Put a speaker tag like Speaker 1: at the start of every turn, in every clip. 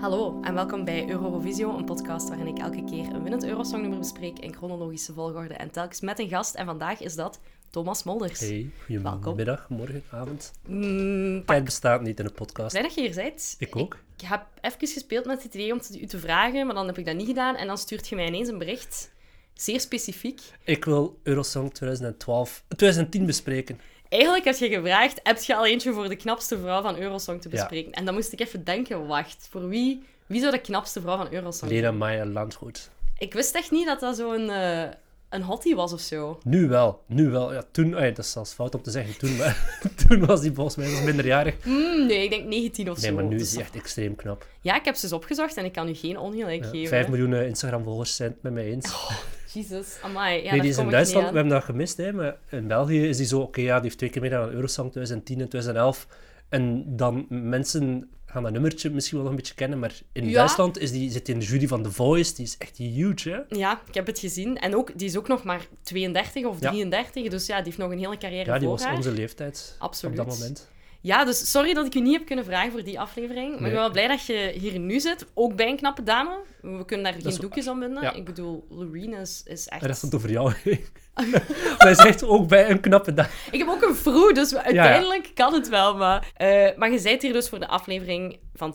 Speaker 1: Hallo en welkom bij Eurovisio, een podcast waarin ik elke keer een winnend Eurosongnummer bespreek in chronologische volgorde en telkens met een gast. En vandaag is dat Thomas Molders.
Speaker 2: Hey, goedemiddag, morgen, avond.
Speaker 1: Mm,
Speaker 2: Tijd bestaat niet in een podcast.
Speaker 1: blij dat je hier bent.
Speaker 2: Ik ook.
Speaker 1: Ik heb even gespeeld met het idee om het u te vragen, maar dan heb ik dat niet gedaan. En dan stuurt je mij ineens een bericht, zeer specifiek.
Speaker 2: Ik wil Eurosong 2012, 2010 bespreken.
Speaker 1: Eigenlijk had je gevraagd, heb je al eentje voor de knapste vrouw van Eurosong te bespreken? En dan moest ik even denken, wacht, voor wie, wie zou de knapste vrouw van Eurosong
Speaker 2: Lena Maya Landgoed.
Speaker 1: Ik wist echt niet dat dat zo'n eh een hottie was of zo.
Speaker 2: Nu wel, nu wel. Ja, toen, ah ja, dat is zelfs fout om te zeggen toen, maar toen was die volgens mij nog minderjarig.
Speaker 1: Mm, nee, ik denk 19 of
Speaker 2: Nee,
Speaker 1: zo.
Speaker 2: maar nu
Speaker 1: Dus-
Speaker 2: is die echt extreem knap.
Speaker 1: Ja, ik heb ze eens opgezocht en ik kan u geen ongelijk
Speaker 2: Ja,
Speaker 1: geven.
Speaker 2: 5 miljoen eh, Instagram-volgers zijn het met mij eens.
Speaker 1: Jezus, amai. Ja,
Speaker 2: nee,
Speaker 1: daar
Speaker 2: die is
Speaker 1: kom
Speaker 2: in
Speaker 1: ik
Speaker 2: Duitsland,
Speaker 1: niet
Speaker 2: we
Speaker 1: aan.
Speaker 2: hebben dat gemist, hè, maar in België is die zo, oké, ja, die heeft twee keer meer aan Eurosong 2010 en 2011. En dan mensen gaan dat nummertje misschien wel nog een beetje kennen, maar in
Speaker 1: Ja.
Speaker 2: Duitsland is die, zit die in de jury van The Voice, die is echt huge, hè?
Speaker 1: Ja, ik heb het gezien. En ook, die is ook nog maar 32 of
Speaker 2: Ja.
Speaker 1: 33, dus ja, die heeft nog een hele carrière
Speaker 2: Ja, die
Speaker 1: voor
Speaker 2: was
Speaker 1: haar.
Speaker 2: onze leeftijd
Speaker 1: Absoluut.
Speaker 2: op dat moment.
Speaker 1: Ja, dus sorry dat ik u niet heb kunnen vragen voor die aflevering. Maar ik
Speaker 2: Nee.
Speaker 1: ben wel blij dat je hier nu zit, ook bij een knappe dame. We kunnen daar geen
Speaker 2: is
Speaker 1: doekjes om binden.
Speaker 2: Ja.
Speaker 1: Ik bedoel, Loreen is, is echt...
Speaker 2: En dat stond over jou. Hij zegt ook bij een knappe dag.
Speaker 1: Ik heb ook een vroeg, dus uiteindelijk kan het wel. Maar, Eh, maar je bent hier dus voor de aflevering van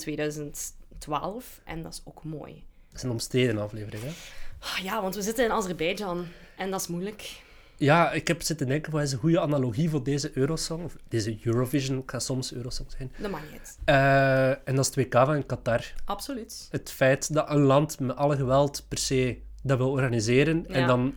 Speaker 1: 2012 en dat is ook mooi.
Speaker 2: Dat is een omstreden aflevering, hè?
Speaker 1: Ah, ja, want we zitten in Azerbeidzjan en dat is moeilijk.
Speaker 2: Ja, ik heb zitten denken, wat is een goede analogie voor deze Eurosong? Of deze Eurovision, kan soms Eurosong zijn.
Speaker 1: Dat mag niet.
Speaker 2: Eh, en dat is het WK van in Qatar.
Speaker 1: Absoluut.
Speaker 2: het feit dat een land met alle geweld per se dat wil organiseren.
Speaker 1: Ja.
Speaker 2: En dan...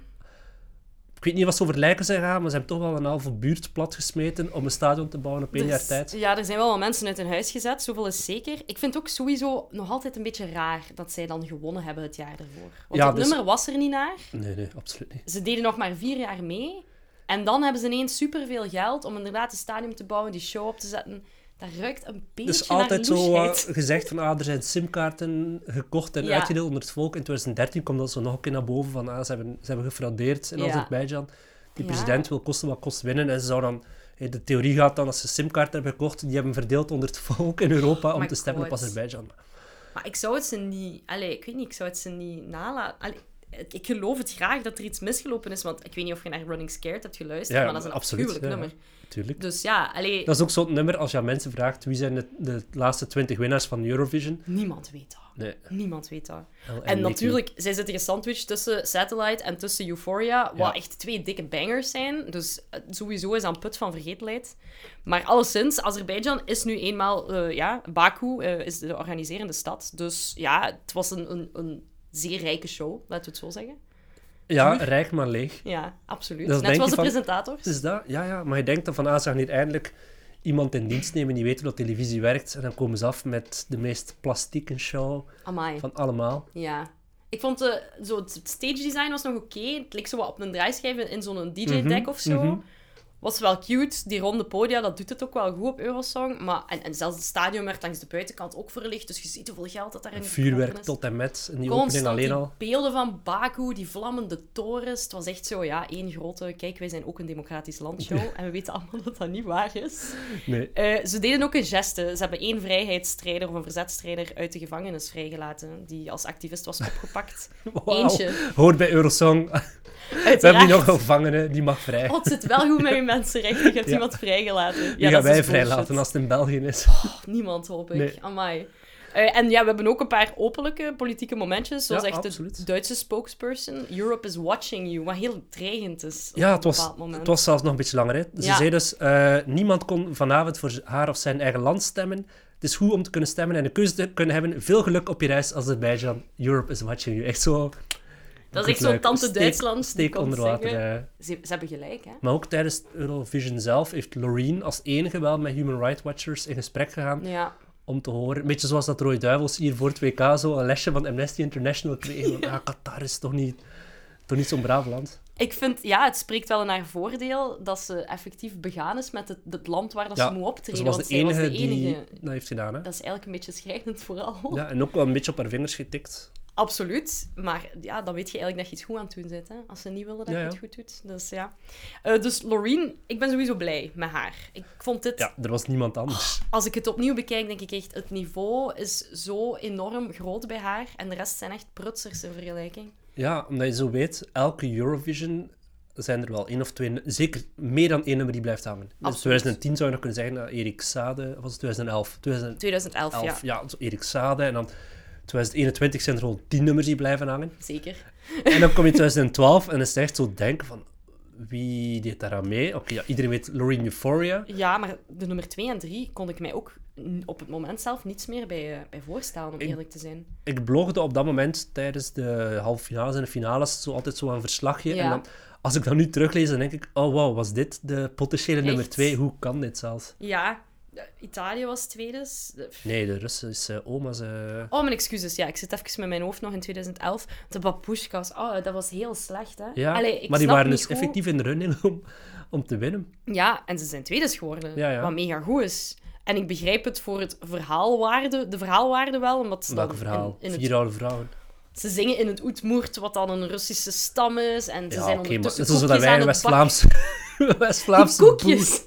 Speaker 2: Ik weet niet wat ze over lijken zijn gaan, maar ze hebben toch wel een halve buurt platgesmeten om een stadion te bouwen op één
Speaker 1: Er
Speaker 2: jaar
Speaker 1: is-
Speaker 2: tijd.
Speaker 1: Ja, er zijn wel wat mensen uit hun huis gezet, zoveel is zeker. Ik vind het ook sowieso nog altijd een beetje raar dat zij dan gewonnen hebben het jaar ervoor. Want
Speaker 2: Ja,
Speaker 1: het
Speaker 2: dus-
Speaker 1: nummer was er niet naar.
Speaker 2: Nee, nee, absoluut niet.
Speaker 1: Ze deden nog maar vier jaar mee. En dan hebben ze ineens superveel geld om inderdaad een stadium te bouwen, die show op te zetten. Dat ruikt een beetje
Speaker 2: Dus altijd
Speaker 1: naar
Speaker 2: zo eh,
Speaker 1: loesheid.
Speaker 2: gezegd van, ah, er zijn simkaarten gekocht en
Speaker 1: Ja.
Speaker 2: uitgedeeld onder het volk. In 2013 komt dat zo nog een keer naar boven van, ah, ze hebben, ze hebben gefraudeerd in
Speaker 1: Ja.
Speaker 2: Azerbeidzjan. Die
Speaker 1: Ja.
Speaker 2: president wil kosten wat kost winnen en ze zou dan... eh, De theorie gaat dan, als ze simkaarten hebben gekocht, die hebben verdeeld onder het volk in Europa om
Speaker 1: Oh my
Speaker 2: te stemmen op
Speaker 1: God.
Speaker 2: Azerbeidzjan. eh,
Speaker 1: Maar ik zou het ze niet... Allee, ik weet niet, ik zou het ze niet nalaten... Allee, ik- ik geloof het graag dat er iets misgelopen is, want ik weet niet of je naar Running Scared hebt geluisterd,
Speaker 2: Ja,
Speaker 1: maar dat is een
Speaker 2: absoluut,
Speaker 1: afschuwelijk
Speaker 2: ja, ja.
Speaker 1: nummer.
Speaker 2: Tuurlijk.
Speaker 1: Dus ja, allee,
Speaker 2: Dat is ook zo'n nummer als je aan mensen vraagt wie zijn de, de laatste 20 winnaars van Eurovision.
Speaker 1: niemand weet dat.
Speaker 2: Nee.
Speaker 1: Niemand weet dat.
Speaker 2: Hel
Speaker 1: En
Speaker 2: Nicky.
Speaker 1: natuurlijk, zij zitten gesandwiched tussen Satellite en tussen Euphoria, wat
Speaker 2: Ja.
Speaker 1: echt twee dikke bangers zijn. Dus eh, sowieso is dat een put van vergetelheid. Maar alleszins, Azerbeidzjan is nu eenmaal... eh, ja, Baku eh, is de organiserende stad. Dus ja, het was een, een, een zeer rijke show, laten we het zo zeggen.
Speaker 2: Ja, rijk maar leeg.
Speaker 1: Ja, absoluut.
Speaker 2: Dat
Speaker 1: Net
Speaker 2: denk
Speaker 1: zoals
Speaker 2: je
Speaker 1: de
Speaker 2: van-
Speaker 1: presentator.
Speaker 2: Is dat? Ja, ja. Maar je denkt dan van, ah, ze gaan hier eindelijk iemand in dienst nemen die weet hoe dat televisie werkt. En dan komen ze af met de meest plastieke show
Speaker 1: Amai.
Speaker 2: van allemaal.
Speaker 1: Ja. Ik vond de, zo het stage design was nog oké. Het leek zo wat op een draaischijf in- in zo'n DJ-deck of zo.
Speaker 2: mhm.
Speaker 1: Was wel cute. Die ronde podia, dat doet het ook wel goed op Eurosong. Maar, en, en zelfs het stadion werd langs de buitenkant ook verlicht. Dus je ziet hoeveel geld dat daarin
Speaker 2: Vuurwerk
Speaker 1: geklompen is.
Speaker 2: tot en met. En die
Speaker 1: Constant
Speaker 2: opening alleen
Speaker 1: die
Speaker 2: al.
Speaker 1: beelden van Baku, die vlammende torens. Het was echt zo, ja, één grote... Kijk, wij zijn ook een democratisch landshow. en we weten allemaal dat dat niet waar is.
Speaker 2: Nee.
Speaker 1: Eh, ze deden ook een geste. Ze hebben één vrijheidsstrijder of een verzetstrijder uit de gevangenis vrijgelaten. Die als activist was opgepakt.
Speaker 2: Wauw.
Speaker 1: Eentje.
Speaker 2: Hoort bij Eurosong. We hebben
Speaker 1: Uiteraard.
Speaker 2: hier nog een gevangene, die mag vrij.
Speaker 1: Oh, het zit wel goed met je mensenrechten. Je hebt
Speaker 2: Ja.
Speaker 1: iemand vrijgelaten. Ja,
Speaker 2: die
Speaker 1: dat
Speaker 2: gaan
Speaker 1: is dus
Speaker 2: wij
Speaker 1: bullshit.
Speaker 2: vrijlaten als het in België is.
Speaker 1: Pff, Niemand, hoop ik.
Speaker 2: Nee.
Speaker 1: Amai. Eh, en ja, we hebben ook een paar openlijke politieke momentjes. Zoals
Speaker 2: Ja,
Speaker 1: echt de
Speaker 2: absoluut.
Speaker 1: Duitse spokesperson. Europe is watching you. Wat heel dreigend is. op
Speaker 2: Ja,
Speaker 1: een
Speaker 2: het was,
Speaker 1: bepaald moment.
Speaker 2: het was zelfs nog een beetje langer. Hè. Ze
Speaker 1: Ja.
Speaker 2: zei dus, eh, niemand kon vanavond voor haar of zijn eigen land stemmen. Het is goed om te kunnen stemmen en een keuze te kunnen hebben. Veel geluk op je reis Azerbeidzjan. Europe is watching you. Echt zo...
Speaker 1: Dat
Speaker 2: goed
Speaker 1: is echt zo'n
Speaker 2: leuk.
Speaker 1: tante
Speaker 2: Steek-
Speaker 1: Duitsland. die
Speaker 2: Steek
Speaker 1: komt
Speaker 2: onder water.
Speaker 1: zingen.
Speaker 2: hè.
Speaker 1: Ze, ze hebben gelijk, hè?
Speaker 2: Maar ook tijdens Eurovision zelf heeft Loreen als enige wel met Human Rights Watchers in gesprek gegaan
Speaker 1: Ja.
Speaker 2: om te horen. Een beetje zoals dat Roy Duivels hier voor het WK zo een lesje van Amnesty International kreeg. Van, Ah, Qatar is toch niet, toch niet zo'n braaf land.
Speaker 1: Ik vind, ja, het spreekt wel in haar voordeel dat ze effectief begaan is met het, het land waar dat
Speaker 2: Ja,
Speaker 1: ze moet optreden.
Speaker 2: Ze was de
Speaker 1: want zij
Speaker 2: enige,
Speaker 1: was de enige.
Speaker 2: die dat heeft gedaan. Hè?
Speaker 1: Dat is eigenlijk een beetje schrijnend vooral.
Speaker 2: Ja, en ook wel een beetje op haar vingers getikt.
Speaker 1: Absoluut, maar ja, dan weet je eigenlijk dat je iets goed aan het doen bent. Hè? Als ze niet willen dat
Speaker 2: Ja,
Speaker 1: je
Speaker 2: ja.
Speaker 1: het goed doet. Dus ja. Eh, dus Loreen, ik ben sowieso blij met haar. Ik vond dit,
Speaker 2: Ja, er was niemand anders.
Speaker 1: als ik het opnieuw bekijk, denk ik echt, het niveau is zo enorm groot bij haar. En de rest zijn echt prutsers in vergelijking.
Speaker 2: Ja, omdat je zo weet, elke Eurovision zijn er wel één of twee, zeker meer dan één nummer die blijft hangen. Dus
Speaker 1: Absoluut.
Speaker 2: 2010 zou je nog kunnen zeggen, nou, Erik Sade, of was het 2011? 2011,
Speaker 1: 2011, ja.
Speaker 2: ja, zo Erik Sade. En dan 2021 zijn er gewoon tien nummers die blijven hangen.
Speaker 1: Zeker.
Speaker 2: En dan kom je in 2012 en dan is het echt zo denken van, wie deed daar aan mee? Oké, ja, iedereen weet Loreen Euphoria.
Speaker 1: Ja, maar de nummer 2 en 3 kon ik mij ook n- op het moment zelf niets meer bij, eh, bij voorstellen, om
Speaker 2: Ik-
Speaker 1: eerlijk te zijn.
Speaker 2: ik blogde op dat moment tijdens de halve finales en de finales zo altijd zo'n verslagje.
Speaker 1: Ja.
Speaker 2: En dan, als ik dat nu teruglees, dan denk ik, oh wow, was dit de potentiële nummer
Speaker 1: Echt?
Speaker 2: twee? Hoe kan dit zelfs?
Speaker 1: Ja, eh, Italië was tweede. dus, eh,
Speaker 2: Nee, de Russische oma's... eh,
Speaker 1: Oh, mijn excuses. Ja, ik zit even met mijn hoofd nog in 2011. De babushkas. Oh, dat was heel slecht, hè?
Speaker 2: Ja,
Speaker 1: Allee, ik
Speaker 2: maar die
Speaker 1: snap
Speaker 2: waren
Speaker 1: niet
Speaker 2: dus
Speaker 1: goed-
Speaker 2: effectief in de running om, om te winnen.
Speaker 1: Ja, en ze zijn tweedes geworden.
Speaker 2: Ja, ja.
Speaker 1: Wat mega goed is. En ik begrijp het voor het verhaalwaarde, de verhaalwaarde wel, omdat ze
Speaker 2: Welke
Speaker 1: dan
Speaker 2: verhaal?
Speaker 1: in- in het-
Speaker 2: Vier oude vrouwen.
Speaker 1: ze zingen in het Oetmoert, wat dan een Russische stam is. En ze
Speaker 2: Ja,
Speaker 1: zijn
Speaker 2: oké, maar
Speaker 1: ondertussen
Speaker 2: het is zo dat
Speaker 1: koekjes aan
Speaker 2: wij
Speaker 1: het
Speaker 2: West-Vlaamse...
Speaker 1: bakken. Die
Speaker 2: West-Vlaamse boeren...
Speaker 1: koekjes,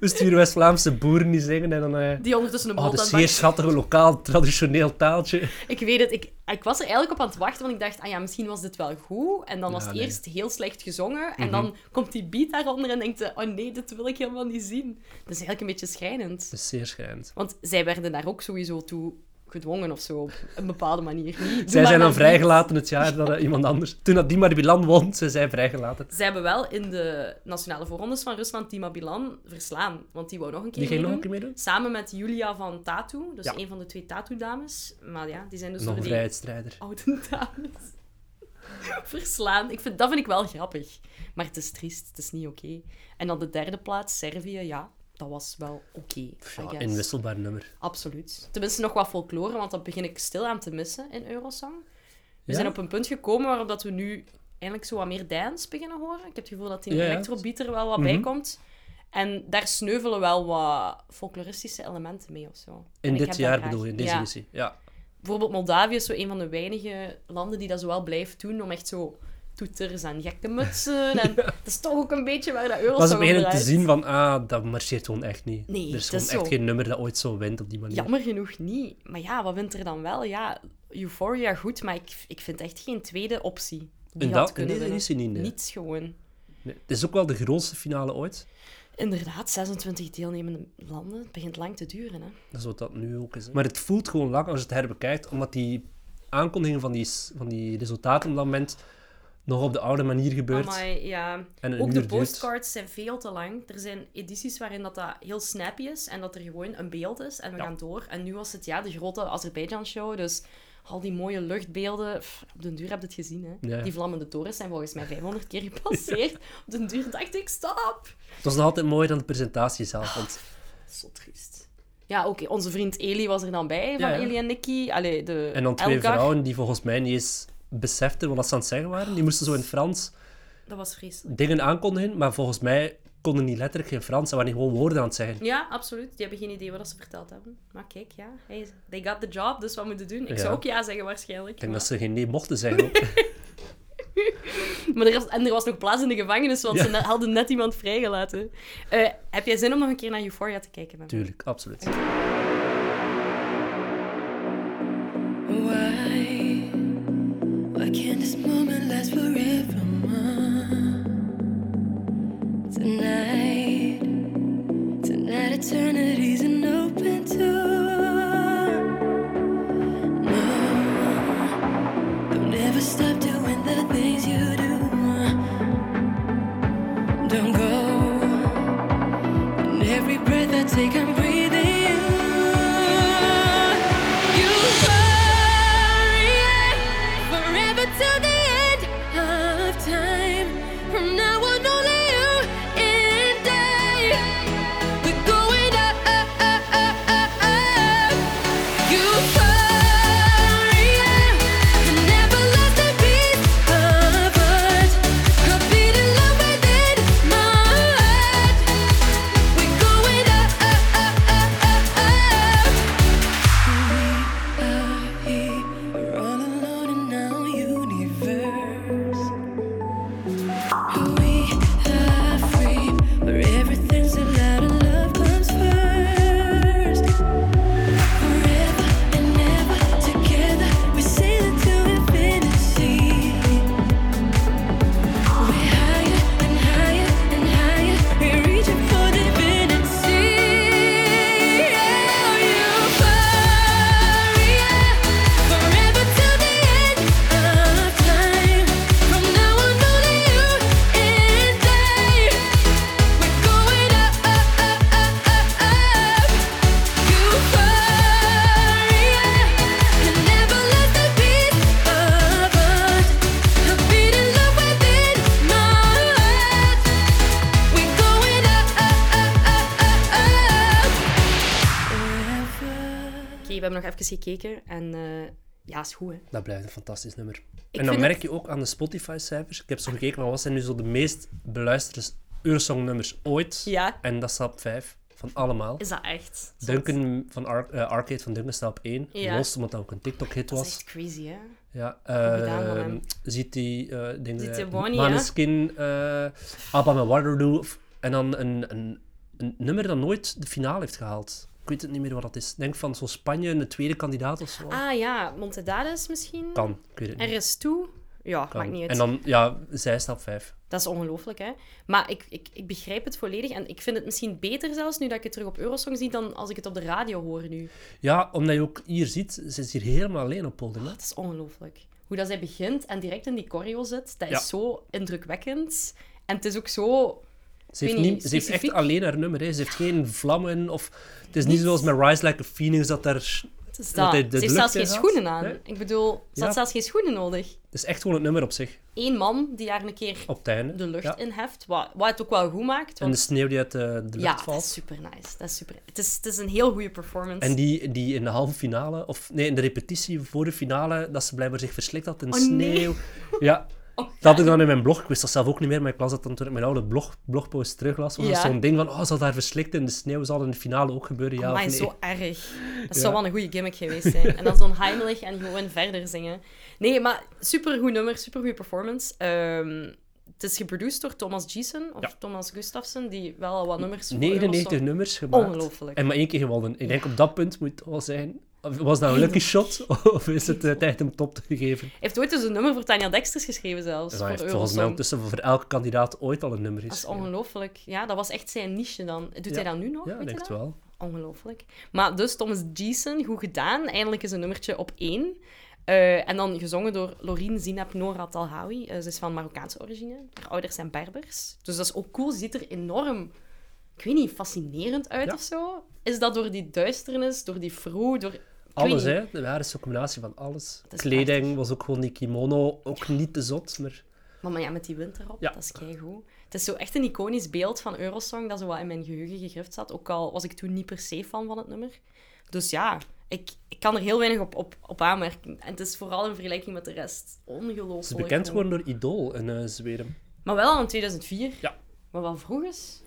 Speaker 2: We sturen West-Vlaamse boeren die zingen en dan... eh,
Speaker 1: die ondertussen een
Speaker 2: Oh,
Speaker 1: brood
Speaker 2: dat
Speaker 1: aan het
Speaker 2: is zeer
Speaker 1: bakken-
Speaker 2: schattig, een lokaal, traditioneel taaltje.
Speaker 1: Ik weet het, ik, ik was er eigenlijk op aan het wachten, want ik dacht, ah ja, misschien was dit wel goed. En dan was
Speaker 2: Ja,
Speaker 1: het
Speaker 2: nee. Mhm.
Speaker 1: eerst heel slecht gezongen. En dan komt die beat daaronder en denkt, ze, oh nee, dit wil ik helemaal niet zien. Dat is eigenlijk een beetje schrijnend.
Speaker 2: Dat is zeer schrijnend.
Speaker 1: Want zij werden daar ook sowieso toe gedwongen of zo, op een bepaalde manier. Niet, doe
Speaker 2: Zij
Speaker 1: maar
Speaker 2: zijn
Speaker 1: maar
Speaker 2: dan
Speaker 1: beat.
Speaker 2: vrijgelaten het jaar dat eh, iemand anders... Toen dat Dima de Bilan won, zijn zij vrijgelaten.
Speaker 1: Ze hebben wel in de nationale voorrondes van Rusland Dima Bilan verslaan, want die wou nog een keer
Speaker 2: Die ging nog
Speaker 1: meedoen.
Speaker 2: een keer meedoen?
Speaker 1: Samen met Julia van Tatu, dus
Speaker 2: Ja.
Speaker 1: een van de twee Tatu-dames. Maar ja, die zijn dus
Speaker 2: Nog
Speaker 1: door
Speaker 2: een
Speaker 1: die
Speaker 2: vrijheidsstrijder.
Speaker 1: oude dames verslaan. Ik vind, dat vind ik wel grappig. Maar het is triest, het is niet oké. En dan de derde plaats, Servië, ja, dat was wel oké. I
Speaker 2: Ja,
Speaker 1: guess.
Speaker 2: een wisselbaar nummer.
Speaker 1: Absoluut. Tenminste, nog wat folklore, want dat begin ik stil aan te missen in Eurosong. We
Speaker 2: Ja?
Speaker 1: zijn op een punt gekomen waarop dat we nu eindelijk zo wat meer dance beginnen horen. Ik heb het gevoel dat die
Speaker 2: Ja, Mhm. ja.
Speaker 1: electrobeat er wel wat bij komt. En daar sneuvelen wel wat folkloristische elementen mee of zo. En
Speaker 2: In
Speaker 1: ik
Speaker 2: dit
Speaker 1: heb
Speaker 2: jaar
Speaker 1: dat graag.
Speaker 2: bedoel je, in deze
Speaker 1: Ja.
Speaker 2: editie. Ja.
Speaker 1: Bijvoorbeeld Moldavië is zo een van de weinige landen die dat zo wel blijft doen, om echt zo toeters en gekke mutsen. En dat is toch ook een beetje waar dat
Speaker 2: Was
Speaker 1: Eurosong
Speaker 2: het
Speaker 1: om
Speaker 2: beginnen te
Speaker 1: draait.
Speaker 2: zien van, ah, dat marcheert gewoon echt niet.
Speaker 1: Nee,
Speaker 2: er is
Speaker 1: dat
Speaker 2: gewoon
Speaker 1: is
Speaker 2: echt
Speaker 1: zo.
Speaker 2: geen nummer dat ooit zo wint op die manier.
Speaker 1: Jammer genoeg niet. Maar ja, wat wint er dan wel? Ja, Euphoria goed, maar ik, ik vind echt geen tweede optie. Die
Speaker 2: En
Speaker 1: had
Speaker 2: dat-
Speaker 1: kunnen
Speaker 2: nee, dat
Speaker 1: winnen.
Speaker 2: is hij niet, nee.
Speaker 1: Niets gewoon.
Speaker 2: Nee, Het is ook wel de grootste finale ooit.
Speaker 1: Inderdaad, 26 deelnemende landen. Het begint lang te duren, hè.
Speaker 2: Dat is wat dat nu ook is. hè. Maar het voelt gewoon lang als je het herbekijkt, omdat die aankondigingen van die, s- van die resultaten op dat moment nog op de oude manier gebeurt.
Speaker 1: Amai, ja.
Speaker 2: En een
Speaker 1: Ook
Speaker 2: uur
Speaker 1: de
Speaker 2: duurt.
Speaker 1: postcards zijn veel te lang. Er zijn edities waarin dat, dat heel snappy is en dat er gewoon een beeld is en we
Speaker 2: Ja.
Speaker 1: gaan door. En nu was het ja, de grote Azerbeidzjan-show, dus al die mooie luchtbeelden. Pff, op den duur heb je het gezien, hè.
Speaker 2: Ja.
Speaker 1: Die vlammende torens zijn volgens mij 500 keer gepasseerd. Op den duur dacht ik, stop!
Speaker 2: Het was nog altijd mooier dan de presentatie zelf. Want
Speaker 1: Zo triest. Ja, oké, onze vriend Eli was er dan bij, van
Speaker 2: ja.
Speaker 1: Eli en Nicky. Allee, de
Speaker 2: En dan twee
Speaker 1: Elgar.
Speaker 2: vrouwen die volgens mij niet eens beseften wat dat ze aan het zeggen waren. Die moesten zo in het Frans
Speaker 1: Dat was vreselijk.
Speaker 2: dingen aankondigen, maar volgens mij konden die letterlijk geen Frans. Ze waren gewoon woorden aan het zeggen.
Speaker 1: Ja, absoluut. Die hebben geen idee wat ze verteld hebben. Maar kijk, ja, hey, they got the job, dus wat moeten doen? Ik
Speaker 2: Ja.
Speaker 1: zou ook ja zeggen waarschijnlijk.
Speaker 2: Ik denk dat ze geen nee mochten zeggen. ook.
Speaker 1: Maar er was, en er was nog plaats in de gevangenis, want
Speaker 2: Ja.
Speaker 1: ze ne- hadden net iemand vrijgelaten. Eh, heb jij zin om nog een keer naar Euphoria te kijken? Mem?
Speaker 2: Tuurlijk, absoluut.
Speaker 3: Why? Why can't this moment last forever? Tonight, tonight, eternity's an open door. No, don't ever stop doing the things you do. Don't go. In every breath I take, I'm breathing. you. Forever till the end of time. From now on, only you and I. We're going up. We're going up. Up.
Speaker 1: we hebben nog even gekeken. En eh, ja, is goed, hè.
Speaker 2: Dat blijft een fantastisch nummer. en
Speaker 1: vind
Speaker 2: dan merk
Speaker 1: het-
Speaker 2: je ook aan de Spotify-cijfers. Ik heb zo gekeken van wat zijn nu zo de meest beluisterde Eurosong-nummers ooit.
Speaker 1: Ja.
Speaker 2: En dat staat op vijf van allemaal.
Speaker 1: Is dat echt?
Speaker 2: Duncan van Ar- eh, Arcade van Duncan staat op één.
Speaker 1: Ja.
Speaker 2: Lost, omdat dat ook een TikTok-hit
Speaker 1: Dat
Speaker 2: was.
Speaker 1: is echt crazy, hè?
Speaker 2: Ja,
Speaker 1: gedaan van
Speaker 2: ehm,
Speaker 1: hem.
Speaker 2: ziet die eh dingen,
Speaker 1: Ziet
Speaker 2: eh,
Speaker 1: die Bonnie, hè?
Speaker 2: Maneskin, eh Abba met Waterloo. of- en dan een, een, een nummer dat nooit de finale heeft gehaald. Ik weet het niet meer wat dat is. Ik Denk van zo Spanje, een tweede kandidaat of zo.
Speaker 1: Ah ja, Montedades misschien?
Speaker 2: Kan, ik weet het niet.
Speaker 1: Er is toe? Ja,
Speaker 2: Kan.
Speaker 1: maakt niet uit.
Speaker 2: En dan, ja, zij staat op vijf.
Speaker 1: Dat is ongelooflijk, hè? Maar ik, ik, ik begrijp het volledig. En ik vind het misschien beter zelfs nu dat ik het terug op Eurosong zie dan als ik het op de radio hoor nu.
Speaker 2: Ja, omdat je ook hier ziet, ze is hier helemaal alleen op podium. hè.
Speaker 1: Dat is ongelooflijk. Hoe dat zij begint en direct in die choreo zit, dat is
Speaker 2: Ja.
Speaker 1: zo indrukwekkend. En het is ook zo...
Speaker 2: Ze heeft,
Speaker 1: weet niet,
Speaker 2: niet, ze heeft echt
Speaker 1: specifiek.
Speaker 2: alleen haar nummer. Hè. Ze heeft geen vlammen. Of, het is niet zoals met Rise Like a Phoenix dat daar...
Speaker 1: Het is dat.
Speaker 2: Dat hij
Speaker 1: Ze
Speaker 2: de
Speaker 1: heeft
Speaker 2: lucht
Speaker 1: zelfs geen
Speaker 2: in had.
Speaker 1: schoenen aan.
Speaker 2: Nee.
Speaker 1: Ik bedoel, ze
Speaker 2: Ja.
Speaker 1: had zelfs geen schoenen nodig.
Speaker 2: Het is echt gewoon het nummer op zich.
Speaker 1: Eén man die daar een keer
Speaker 2: Op het einde.
Speaker 1: de lucht
Speaker 2: Ja.
Speaker 1: in heft, wat, wat het ook wel goed maakt.
Speaker 2: En
Speaker 1: want-
Speaker 2: de sneeuw die uit eh, de, lucht
Speaker 1: ja, dat
Speaker 2: valt.
Speaker 1: is super nice. Dat is super... Het, is, het is een heel goede performance.
Speaker 2: En die, die in de halve finale, of nee, in de repetitie voor de finale, dat ze blijkbaar zich verslikt had in de
Speaker 1: Oh, nee.
Speaker 2: sneeuw. Ja,
Speaker 1: Oh,
Speaker 2: dat had ik dan in mijn blog. Ik wist dat zelf ook niet meer, maar ik las dat dan toen ik mijn oude blog, blogpost teruglas. Was dat
Speaker 1: Ja.
Speaker 2: zo'n ding van, oh, ze had haar verslikt in de sneeuw, zal dat in de finale ook gebeuren? Ja,
Speaker 1: Amai,
Speaker 2: of nee?
Speaker 1: zo erg. Dat
Speaker 2: Ja.
Speaker 1: zou wel een goede gimmick geweest zijn. En dan zo'n Heimlich en gewoon verder zingen. Nee, maar supergoed nummer, supergoede performance. Ehm, het is geproduceerd door Thomas Giessen of
Speaker 2: Ja.
Speaker 1: Thomas Gustafsson, die wel al wat nummers voor
Speaker 2: 99
Speaker 1: Eurosong-
Speaker 2: nummers gemaakt.
Speaker 1: Ongelooflijk.
Speaker 2: En maar één keer gewonnen. Ik denk op dat punt moet het wel zijn. Was dat een lucky shot? Of is het eh, tijd om top te geven?
Speaker 1: Hij heeft ooit dus een nummer voor Tanja Dexters geschreven zelfs.
Speaker 2: Dus
Speaker 1: voor
Speaker 2: hij heeft volgens mij
Speaker 1: Eurosong.
Speaker 2: ondertussen voor elke kandidaat ooit al een nummer is.
Speaker 1: Dat is ongelooflijk. Ja, dat was echt zijn niche dan. Doet hij dat nu nog?
Speaker 2: Ja,
Speaker 1: Weet
Speaker 2: ik
Speaker 1: je
Speaker 2: denk het
Speaker 1: dat?
Speaker 2: wel.
Speaker 1: Ongelooflijk. Maar dus Thomas Giessen, goed gedaan. Eindelijk is een nummertje op één. Eh, en dan gezongen door Lorien Zinab Nora Talhawi. Eh, ze is van Marokkaanse origine. Haar ouders zijn Berbers. Dus dat is ook cool. Ze ziet er enorm, ik weet niet, fascinerend uit
Speaker 2: Ja.
Speaker 1: of zo. Is dat door die duisternis, door die froe, door... ik weet
Speaker 2: Alles,
Speaker 1: niet.
Speaker 2: hè? Ja, dat is een combinatie van alles.
Speaker 1: is
Speaker 2: Kleding
Speaker 1: prachtig.
Speaker 2: was ook gewoon die kimono, ook niet te zot, maar
Speaker 1: Maar, maar ja, met die wind erop,
Speaker 2: Ja.
Speaker 1: dat is keigoed. Het is zo echt een iconisch beeld van Eurosong dat zo wat in mijn geheugen gegrift zat. Ook al was ik toen niet per se fan van het nummer. Dus ja, ik, ik kan er heel weinig op, op, op aanmerken. En het is vooral in vergelijking met de rest ongelooflijk.
Speaker 2: ze is bekend
Speaker 1: gewoon.
Speaker 2: geworden door Idol in eh, Zweden.
Speaker 1: Maar wel al in 2004.
Speaker 2: Ja.
Speaker 1: Maar wel vroeg is.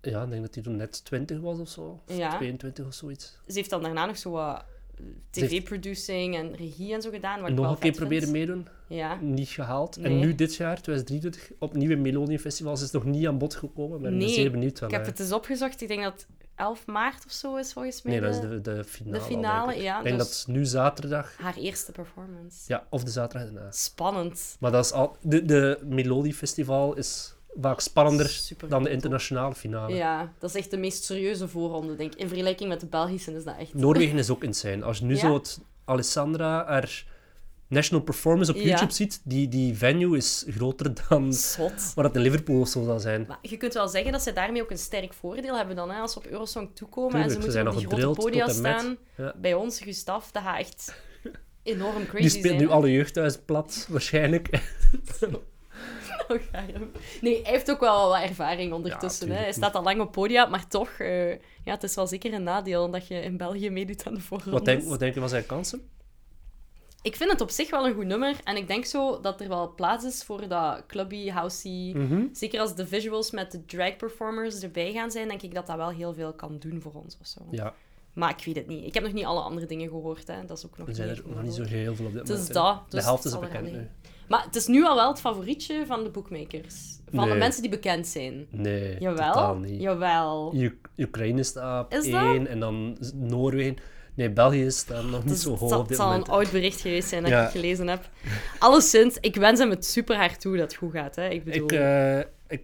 Speaker 2: Ja, ik denk dat hij toen net 20 was of zo. Of
Speaker 1: Ja.
Speaker 2: 22 of zoiets.
Speaker 1: Ze heeft dan daarna nog zo wat eh,
Speaker 2: heeft-
Speaker 1: tv-producing en regie en zo gedaan. Wat ik
Speaker 2: Nog
Speaker 1: wel
Speaker 2: een keer
Speaker 1: vet vind.
Speaker 2: proberen meedoen,
Speaker 1: Ja.
Speaker 2: niet gehaald. En
Speaker 1: Nee.
Speaker 2: nu dit jaar, 2023, opnieuw in Melodium Festival. Ze is nog niet aan bod gekomen, maar ik ben
Speaker 1: Nee,
Speaker 2: zeer benieuwd.
Speaker 1: Ik
Speaker 2: Wel,
Speaker 1: heb
Speaker 2: eh.
Speaker 1: het eens opgezocht. Ik denk dat het 11 maart of zo is volgens mij.
Speaker 2: Nee, dat is
Speaker 1: de-
Speaker 2: de, de finale. al,
Speaker 1: finale,
Speaker 2: denk ik.
Speaker 1: ja,
Speaker 2: Ik denk
Speaker 1: dus-
Speaker 2: dat het nu zaterdag,
Speaker 1: Haar eerste performance.
Speaker 2: ja, of de zaterdag daarna.
Speaker 1: Spannend.
Speaker 2: Maar dat is al, de, de Melodie Festival is vaak spannender
Speaker 1: Super
Speaker 2: dan de
Speaker 1: goed,
Speaker 2: internationale finale.
Speaker 1: Ja, dat is echt de meest serieuze voorronde, denk ik. In vergelijking met de Belgische is dat echt...
Speaker 2: Noorwegen is ook insane. Als je nu
Speaker 1: Ja.
Speaker 2: zo het Alessandra haar national performance op
Speaker 1: Ja.
Speaker 2: YouTube ziet, die, die venue is groter dan
Speaker 1: Zot.
Speaker 2: waar dat in Liverpool of zo zou zijn.
Speaker 1: Maar je kunt wel zeggen dat ze daarmee ook een sterk voordeel hebben dan, hè, als ze op Eurosong toekomen en
Speaker 2: Tuurlijk,
Speaker 1: ze
Speaker 2: ze
Speaker 1: moeten
Speaker 2: zijn
Speaker 1: op
Speaker 2: nog
Speaker 1: die grote
Speaker 2: gedrild tot
Speaker 1: podia
Speaker 2: en met.
Speaker 1: staan.
Speaker 2: Ja.
Speaker 1: Bij ons, Gustaf, dat gaat echt enorm crazy
Speaker 2: Die speelt
Speaker 1: zijn.
Speaker 2: nu alle jeugdhuis plat, waarschijnlijk.
Speaker 1: Oh, gaar. Nee, hij heeft ook wel wat ervaring ondertussen.
Speaker 2: Ja,
Speaker 1: hè. Hij
Speaker 2: tuurlijk.
Speaker 1: staat al lang op podia, maar toch, eh, ja, het is wel zeker een nadeel dat je in België meedoet aan de voorrondes.
Speaker 2: Wat denk, wat denk je van zijn kansen?
Speaker 1: Ik vind het op zich wel een goed nummer. En ik denk zo dat er wel plaats is voor dat clubby, housey. Zeker als de visuals met de drag performers erbij gaan zijn, denk ik dat dat wel heel veel kan doen voor ons of zo.
Speaker 2: Ja,
Speaker 1: Maar ik weet het niet. Ik heb nog niet alle andere dingen gehoord. Hè. Dat is ook nog
Speaker 2: er zijn
Speaker 1: niet
Speaker 2: er nog niet
Speaker 1: echt
Speaker 2: zo heel veel op dit
Speaker 1: Het
Speaker 2: moment.
Speaker 1: is
Speaker 2: hè.
Speaker 1: dat.
Speaker 2: de
Speaker 1: dus
Speaker 2: helft
Speaker 1: het
Speaker 2: is
Speaker 1: zal er
Speaker 2: bekend
Speaker 1: aan
Speaker 2: nu.
Speaker 1: liggen. Maar het is nu al wel het favorietje van de bookmakers. Van
Speaker 2: Nee.
Speaker 1: de mensen die bekend zijn.
Speaker 2: Nee,
Speaker 1: Jawel.
Speaker 2: totaal niet.
Speaker 1: Jawel.
Speaker 2: Uk- Oekraïne staat op
Speaker 1: Is dat?
Speaker 2: één en dan Noorwegen. Nee, België staat nog niet
Speaker 1: Dus
Speaker 2: zo
Speaker 1: het
Speaker 2: hoog
Speaker 1: zal,
Speaker 2: op dit
Speaker 1: zal
Speaker 2: moment.
Speaker 1: een oud bericht geweest zijn dat
Speaker 2: Ja.
Speaker 1: ik gelezen heb. Alleszins, ik wens hem het super hard toe dat het goed gaat. Hè. Ik bedoel...
Speaker 2: Ik, eh, ik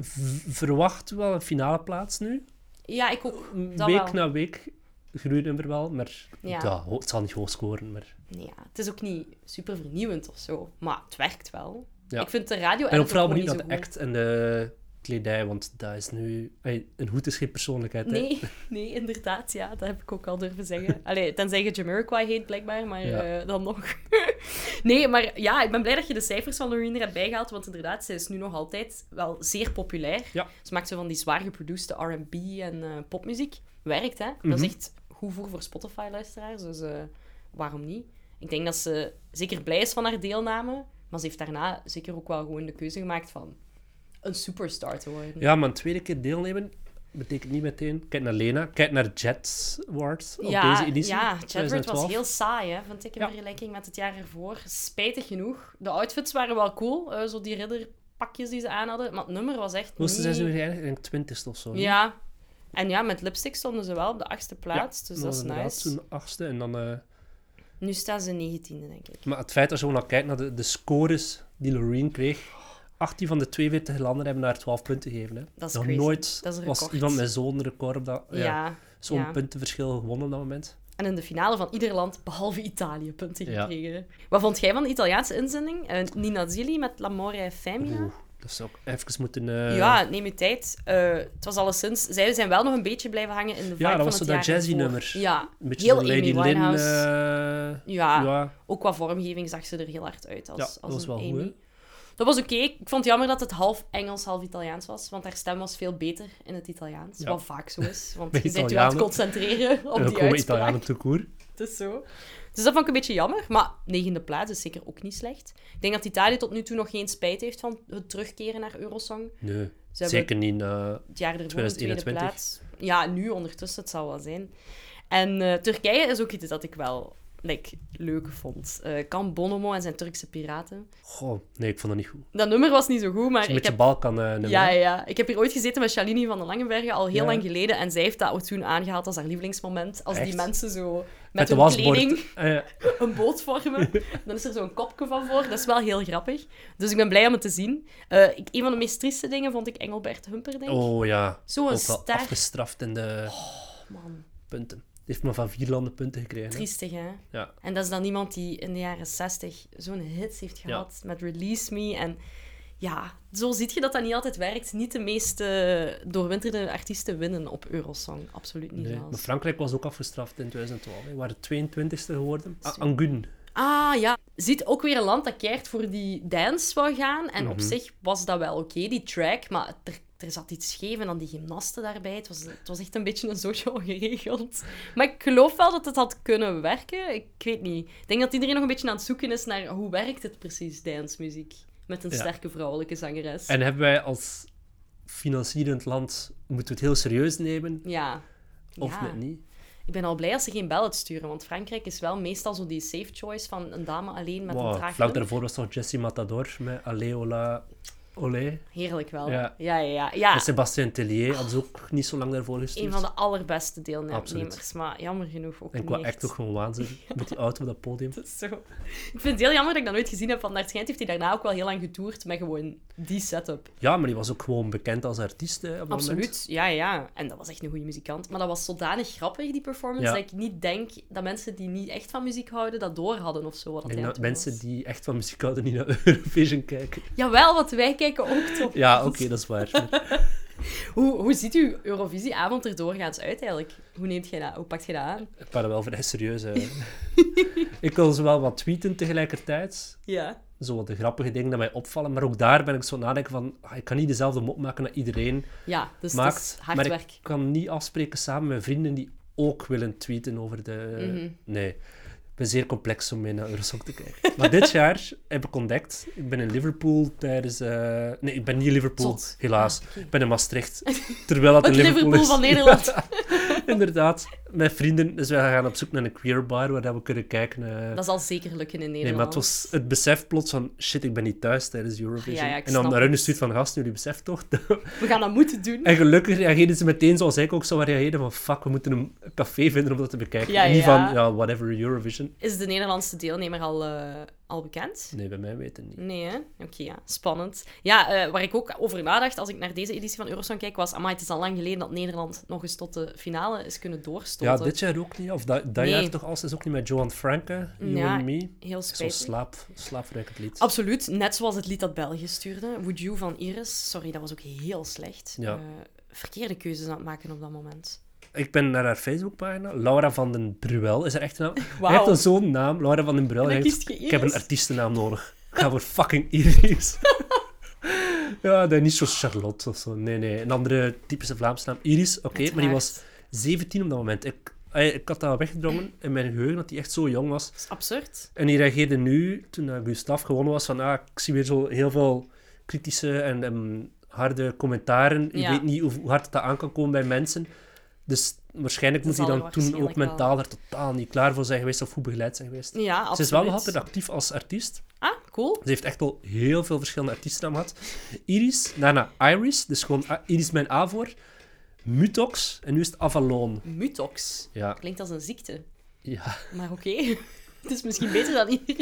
Speaker 2: v- verwacht wel een finale plaats nu.
Speaker 1: Ja, ik ook. Dat
Speaker 2: week
Speaker 1: wel.
Speaker 2: na week groeit nummer wel, maar
Speaker 1: Ja.
Speaker 2: ja, ho- het zal niet hoog scoren. Maar...
Speaker 1: Nee, ja, het is ook niet super vernieuwend of zo, maar het werkt wel.
Speaker 2: Ja.
Speaker 1: Ik vind de radio
Speaker 2: En ook vooral
Speaker 1: niet
Speaker 2: benieuwd
Speaker 1: zo
Speaker 2: naar de
Speaker 1: goed.
Speaker 2: act en de kledij, want dat is nu... ey, een hoed is geen persoonlijkheid, hè.
Speaker 1: Nee, nee, inderdaad, ja, dat heb ik ook al durven zeggen. Allee, tenzij je Jamiroquai heet, blijkbaar, maar
Speaker 2: Ja.
Speaker 1: eh, dan nog. nee, maar ja, ik ben blij dat je de cijfers van Loreen er hebt bijgehaald, want inderdaad, ze is nu nog altijd wel zeer populair.
Speaker 2: Ja. Mhm.
Speaker 1: Ze maakt zo van die zwaar geproduceerde R&B en eh, popmuziek. Werkt, hè? Dat is echt goed goed voor voor Spotify-luisteraars, dus eh, waarom niet? Ik denk dat ze zeker blij is van haar deelname, maar ze heeft daarna zeker ook wel gewoon de keuze gemaakt van een superstar te worden.
Speaker 2: Ja, maar een tweede keer deelnemen betekent niet meteen... Kijk naar Lena, kijk naar Jets Awards op deze editie.
Speaker 1: Ja, Chadward
Speaker 2: 2012.
Speaker 1: was heel saai, hè, vond ik in
Speaker 2: Ja.
Speaker 1: vergelijking met het jaar ervoor. Spijtig genoeg. De outfits waren wel cool, eh, zo die ridderpakjes die ze aan hadden, maar het nummer was echt
Speaker 2: Moesten
Speaker 1: niet...
Speaker 2: zijn ze weer eigenlijk in twintigste of zo.
Speaker 1: Ja. En ja, met lipstick stonden ze wel op de achtste plaats, dus
Speaker 2: Dan
Speaker 1: dat is
Speaker 2: inderdaad
Speaker 1: nice.
Speaker 2: Toen achtste en dan... eh,
Speaker 1: Nu staan ze negentiende, denk ik.
Speaker 2: Maar het feit als je gewoon al kijkt naar de, de scores die Loreen kreeg. 18 van de 42 landen hebben haar 12 punten gegeven. Hè.
Speaker 1: Dat is
Speaker 2: Nog
Speaker 1: crazy.
Speaker 2: nooit
Speaker 1: Dat is een
Speaker 2: was
Speaker 1: record.
Speaker 2: iemand met zo'n record op dat...
Speaker 1: Ja.
Speaker 2: Ja, zo'n
Speaker 1: ja.
Speaker 2: puntenverschil gewonnen op dat moment.
Speaker 1: En in de finale van ieder land, behalve Italië, punten
Speaker 2: Ja.
Speaker 1: gekregen. Wat vond jij van de Italiaanse inzending? Eh, Nina Zilli met L'amore e femmina.
Speaker 2: Oeh, dat zou ik even moeten... eh,
Speaker 1: Ja, neem je tijd. Eh, het was alleszins... Zij zijn wel nog een beetje blijven hangen in de vibe
Speaker 2: dat
Speaker 1: van
Speaker 2: was
Speaker 1: het
Speaker 2: zo dat
Speaker 1: jaar
Speaker 2: jazzy
Speaker 1: ervoor.
Speaker 2: nummer.
Speaker 1: Ja,
Speaker 2: Een beetje
Speaker 1: heel
Speaker 2: zo'n Lady
Speaker 1: Amy
Speaker 2: Lynn...
Speaker 1: Winehouse.
Speaker 2: eh,
Speaker 1: ja.
Speaker 2: ja,
Speaker 1: ook qua vormgeving zag ze er heel hard uit als,
Speaker 2: Ja,
Speaker 1: als
Speaker 2: dat was
Speaker 1: een
Speaker 2: wel
Speaker 1: Amy.
Speaker 2: goed, hè?
Speaker 1: dat was oké. Ik vond het jammer dat het half Engels, half Italiaans was. Want haar stem was veel beter in het Italiaans.
Speaker 2: Ja.
Speaker 1: Wat vaak zo is. Want
Speaker 2: Bij
Speaker 1: je bent je aan het
Speaker 2: Italianen.
Speaker 1: concentreren op
Speaker 2: en
Speaker 1: die
Speaker 2: ook gewoon
Speaker 1: uitspraak.
Speaker 2: Italianen tout court.
Speaker 1: Het is zo. Dus dat vond ik een beetje jammer. Maar negende plaats is zeker ook niet slecht. Ik denk dat Italië tot nu toe nog geen spijt heeft van het terugkeren naar Eurosong.
Speaker 2: Nee,
Speaker 1: Ze hebben
Speaker 2: zeker niet. eh,
Speaker 1: het jaar ervoor in de tweede
Speaker 2: 2021.
Speaker 1: plaats. Ja, nu ondertussen, het zal wel zijn. En eh, Turkije is ook iets dat ik wel like, leuk vond. Eh kan Bonomo en zijn Turkse piraten.
Speaker 2: goh, nee, ik vond dat niet goed.
Speaker 1: Dat nummer was niet zo goed, maar
Speaker 2: Een
Speaker 1: ik
Speaker 2: beetje
Speaker 1: heb...
Speaker 2: Balkan eh nummer.
Speaker 1: Ja, ja. Ik heb hier ooit gezeten met Shalini van den Langenbergen, al heel
Speaker 2: Ja.
Speaker 1: lang geleden. En zij heeft dat ook toen aangehaald als haar lievelingsmoment. Als die
Speaker 2: Echt?
Speaker 1: mensen zo met,
Speaker 2: Met de
Speaker 1: hun
Speaker 2: wasbord.
Speaker 1: kleding
Speaker 2: Eh,
Speaker 1: een boot vormen. Dan is er zo'n kopje van voor. Dat is wel heel grappig. Dus ik ben blij om het te zien. Eh, ik, een van de meest trieste dingen vond ik Engelbert Humperdinck.
Speaker 2: oh ja,
Speaker 1: Zo'n
Speaker 2: ook wel
Speaker 1: ster.
Speaker 2: afgestraft in de
Speaker 1: Man.
Speaker 2: punten. Die heeft maar van vier landen punten gekregen. hè.
Speaker 1: Triestig, hè?
Speaker 2: Ja.
Speaker 1: En dat is dan iemand die in de jaren 60 zo'n hits heeft gehad met Release Me. En ja, zo zie je dat dat niet altijd werkt. Niet de meeste doorwinterde artiesten winnen op Eurosong. Absoluut niet
Speaker 2: Nee,
Speaker 1: zelfs.
Speaker 2: maar Frankrijk was ook afgestraft in 2012. Hè. waren 22e geworden. Ah, Angun.
Speaker 1: Ah ja, ziet ook weer een land dat keert voor die dance wou gaan. En
Speaker 2: Mhm.
Speaker 1: op zich was dat wel oké, die track. Maar er, er zat iets scheef en dan die gymnasten daarbij. Het was, het was echt een beetje een social geregeld. Maar ik geloof wel dat het had kunnen werken. Ik weet niet. Ik denk dat iedereen nog een beetje aan het zoeken is naar hoe werkt het precies, dancemuziek. Met een
Speaker 2: Ja.
Speaker 1: sterke vrouwelijke zangeres.
Speaker 2: En hebben wij als financierend land, moeten we het heel serieus nemen
Speaker 1: Ja.
Speaker 2: of
Speaker 1: Ja.
Speaker 2: net niet?
Speaker 1: Ik ben al blij als ze geen ballet sturen, want Frankrijk is wel meestal zo die safe choice van een dame alleen met een
Speaker 2: Wow,
Speaker 1: traag
Speaker 2: vlak
Speaker 1: nummer.
Speaker 2: daarvoor was toch Jesse Matador met Aleola Olé.
Speaker 1: Heerlijk wel. Ja, ja,
Speaker 2: Ja.
Speaker 1: ja. ja.
Speaker 2: En Sébastien Tellier hadden ze ook niet zo lang daarvoor gestuurd.
Speaker 1: een van de allerbeste deelnemers.
Speaker 2: Absoluut.
Speaker 1: Maar jammer genoeg ook
Speaker 2: En
Speaker 1: niet
Speaker 2: qua
Speaker 1: echt.
Speaker 2: echt toch gewoon waanzin. Met die auto op dat podium.
Speaker 1: Zo. Ik vind het heel jammer dat ik dat nooit gezien heb, want naar het schijnt heeft hij daarna ook wel heel lang getoerd met gewoon die setup.
Speaker 2: Ja, maar die was ook gewoon bekend als artiest hè, op dat moment.
Speaker 1: Absoluut, ja, ja. En dat was echt een goede muzikant. Maar dat was zodanig grappig, die performance,
Speaker 2: Ja.
Speaker 1: dat ik niet denk dat mensen die niet echt van muziek houden, dat door hadden of zo. Wat
Speaker 2: Ik
Speaker 1: hij
Speaker 2: denk
Speaker 1: aan
Speaker 2: dat
Speaker 1: het doen
Speaker 2: mensen
Speaker 1: was.
Speaker 2: die echt van muziek houden niet naar Eurovision kijken.
Speaker 1: Jawel, want wij kijken ook toch.
Speaker 2: Ja, oké, dat is waar. Maar
Speaker 1: Hoe, hoe ziet uw Eurovisieavond er doorgaans uit eigenlijk? Hoe neemt jij dat? Hoe pakt jij dat aan?
Speaker 2: Ik ben er wel vrij serieus. hè. ik wil zowel wat tweeten tegelijkertijd.
Speaker 1: Ja.
Speaker 2: Zo wat de grappige dingen die mij opvallen. Maar ook daar ben ik zo aan het nadenken van... ah, Ik kan niet dezelfde mop maken dat iedereen
Speaker 1: Ja, dus het is
Speaker 2: maakt.
Speaker 1: hard
Speaker 2: maar
Speaker 1: werk.
Speaker 2: ik kan niet afspreken samen met vrienden die ook willen tweeten over de...
Speaker 1: Mhm.
Speaker 2: Nee. Ik ben zeer complex om mee naar Eurosong te kijken. Maar dit jaar heb ik ontdekt... Ik ben in Liverpool tijdens... eh, Nee, ik ben niet in Liverpool,
Speaker 1: Zot.
Speaker 2: helaas. Ik ben in Maastricht. Terwijl dat
Speaker 1: Het
Speaker 2: in Liverpool,
Speaker 1: Liverpool
Speaker 2: is.
Speaker 1: van Nederland.
Speaker 2: Ja, inderdaad. Met vrienden. Dus wij gaan op zoek naar een queer bar waar dat we kunnen kijken. eh.
Speaker 1: Dat zal zeker lukken in Nederland.
Speaker 2: Nee, maar het was het besef plots van shit, ik ben niet thuis tijdens Eurovision.
Speaker 1: Ja, ja, ik
Speaker 2: en dan
Speaker 1: snap
Speaker 2: naar hun
Speaker 1: het.
Speaker 2: stuurt van gast, jullie beseffen toch?
Speaker 1: We gaan dat moeten doen.
Speaker 2: en gelukkig reageerden ze meteen zoals ik ook zou reageren: van fuck, we moeten een café vinden om dat te bekijken.
Speaker 1: Ja,
Speaker 2: en niet
Speaker 1: ja.
Speaker 2: van ja, whatever Eurovision.
Speaker 1: Is de Nederlandse deelnemer al, eh, al bekend?
Speaker 2: Nee, bij mij weten niet.
Speaker 1: Nee, hè? Oké, ja. Spannend. Ja, eh, waar ik ook over nadacht als ik naar deze editie van Eurosong kijk, was... Amai, het is al lang geleden dat Nederland nog eens tot de finale is kunnen doorstoten.
Speaker 2: Ja, dit jaar ook niet. Of dat, dat
Speaker 1: Nee.
Speaker 2: jaar toch als is ook niet met Johan Franke, You
Speaker 1: Ja,
Speaker 2: and Me.
Speaker 1: Heel
Speaker 2: Zo'n
Speaker 1: spijtig.
Speaker 2: slaap, slaapverwekkend lied.
Speaker 1: Absoluut. Net zoals het lied dat België stuurde. Would You van Iris. Sorry, dat was ook heel slecht.
Speaker 2: Ja.
Speaker 1: Eh, verkeerde keuzes aan het maken op dat moment.
Speaker 2: Ik ben naar haar Facebookpagina. Laura van den Bruel is haar echte naam.
Speaker 1: Wauw.
Speaker 2: Hij heeft dan zo'n naam, Laura van den Bruel.
Speaker 1: En dan
Speaker 2: Hij heeft-
Speaker 1: kiest je
Speaker 2: ik heb een
Speaker 1: Iris.
Speaker 2: artiestennaam nodig. Ik ga voor fucking Iris. ja, dat is niet zo Charlotte of zo. Nee, nee. Een andere typische Vlaamse naam. Iris, oké. maar die
Speaker 1: Uiteraard.
Speaker 2: was 17 op dat moment. Ik Ey, Ik had dat weggedrongen in mijn geheugen, dat hij echt zo jong was.
Speaker 1: Dat is absurd.
Speaker 2: En die reageerde nu, toen dat Gustav gewonnen was, van ah, ik zie weer zo heel veel kritische en ehm, harde commentaren. Ik
Speaker 1: Ja.
Speaker 2: weet niet hoe, hoe hard dat aan kan komen bij mensen. Dus waarschijnlijk
Speaker 1: Dat
Speaker 2: moet hij
Speaker 1: zal
Speaker 2: dan
Speaker 1: er
Speaker 2: toen ook
Speaker 1: waarschijnlijk
Speaker 2: mentaal er totaal niet klaar voor zijn geweest of goed begeleid zijn geweest.
Speaker 1: Ja, absoluut.
Speaker 2: Ze is wel nog altijd actief als artiest.
Speaker 1: Ah, cool.
Speaker 2: Ze heeft echt al heel veel verschillende artiesten gehad. Iris, daarna Iris, dus gewoon A- Iris mijn A voor. Mutox, en nu is het Avalon.
Speaker 1: Mutox.
Speaker 2: Ja.
Speaker 1: Klinkt als een ziekte.
Speaker 2: ja.
Speaker 1: Maar oké. het is misschien beter dan Iris.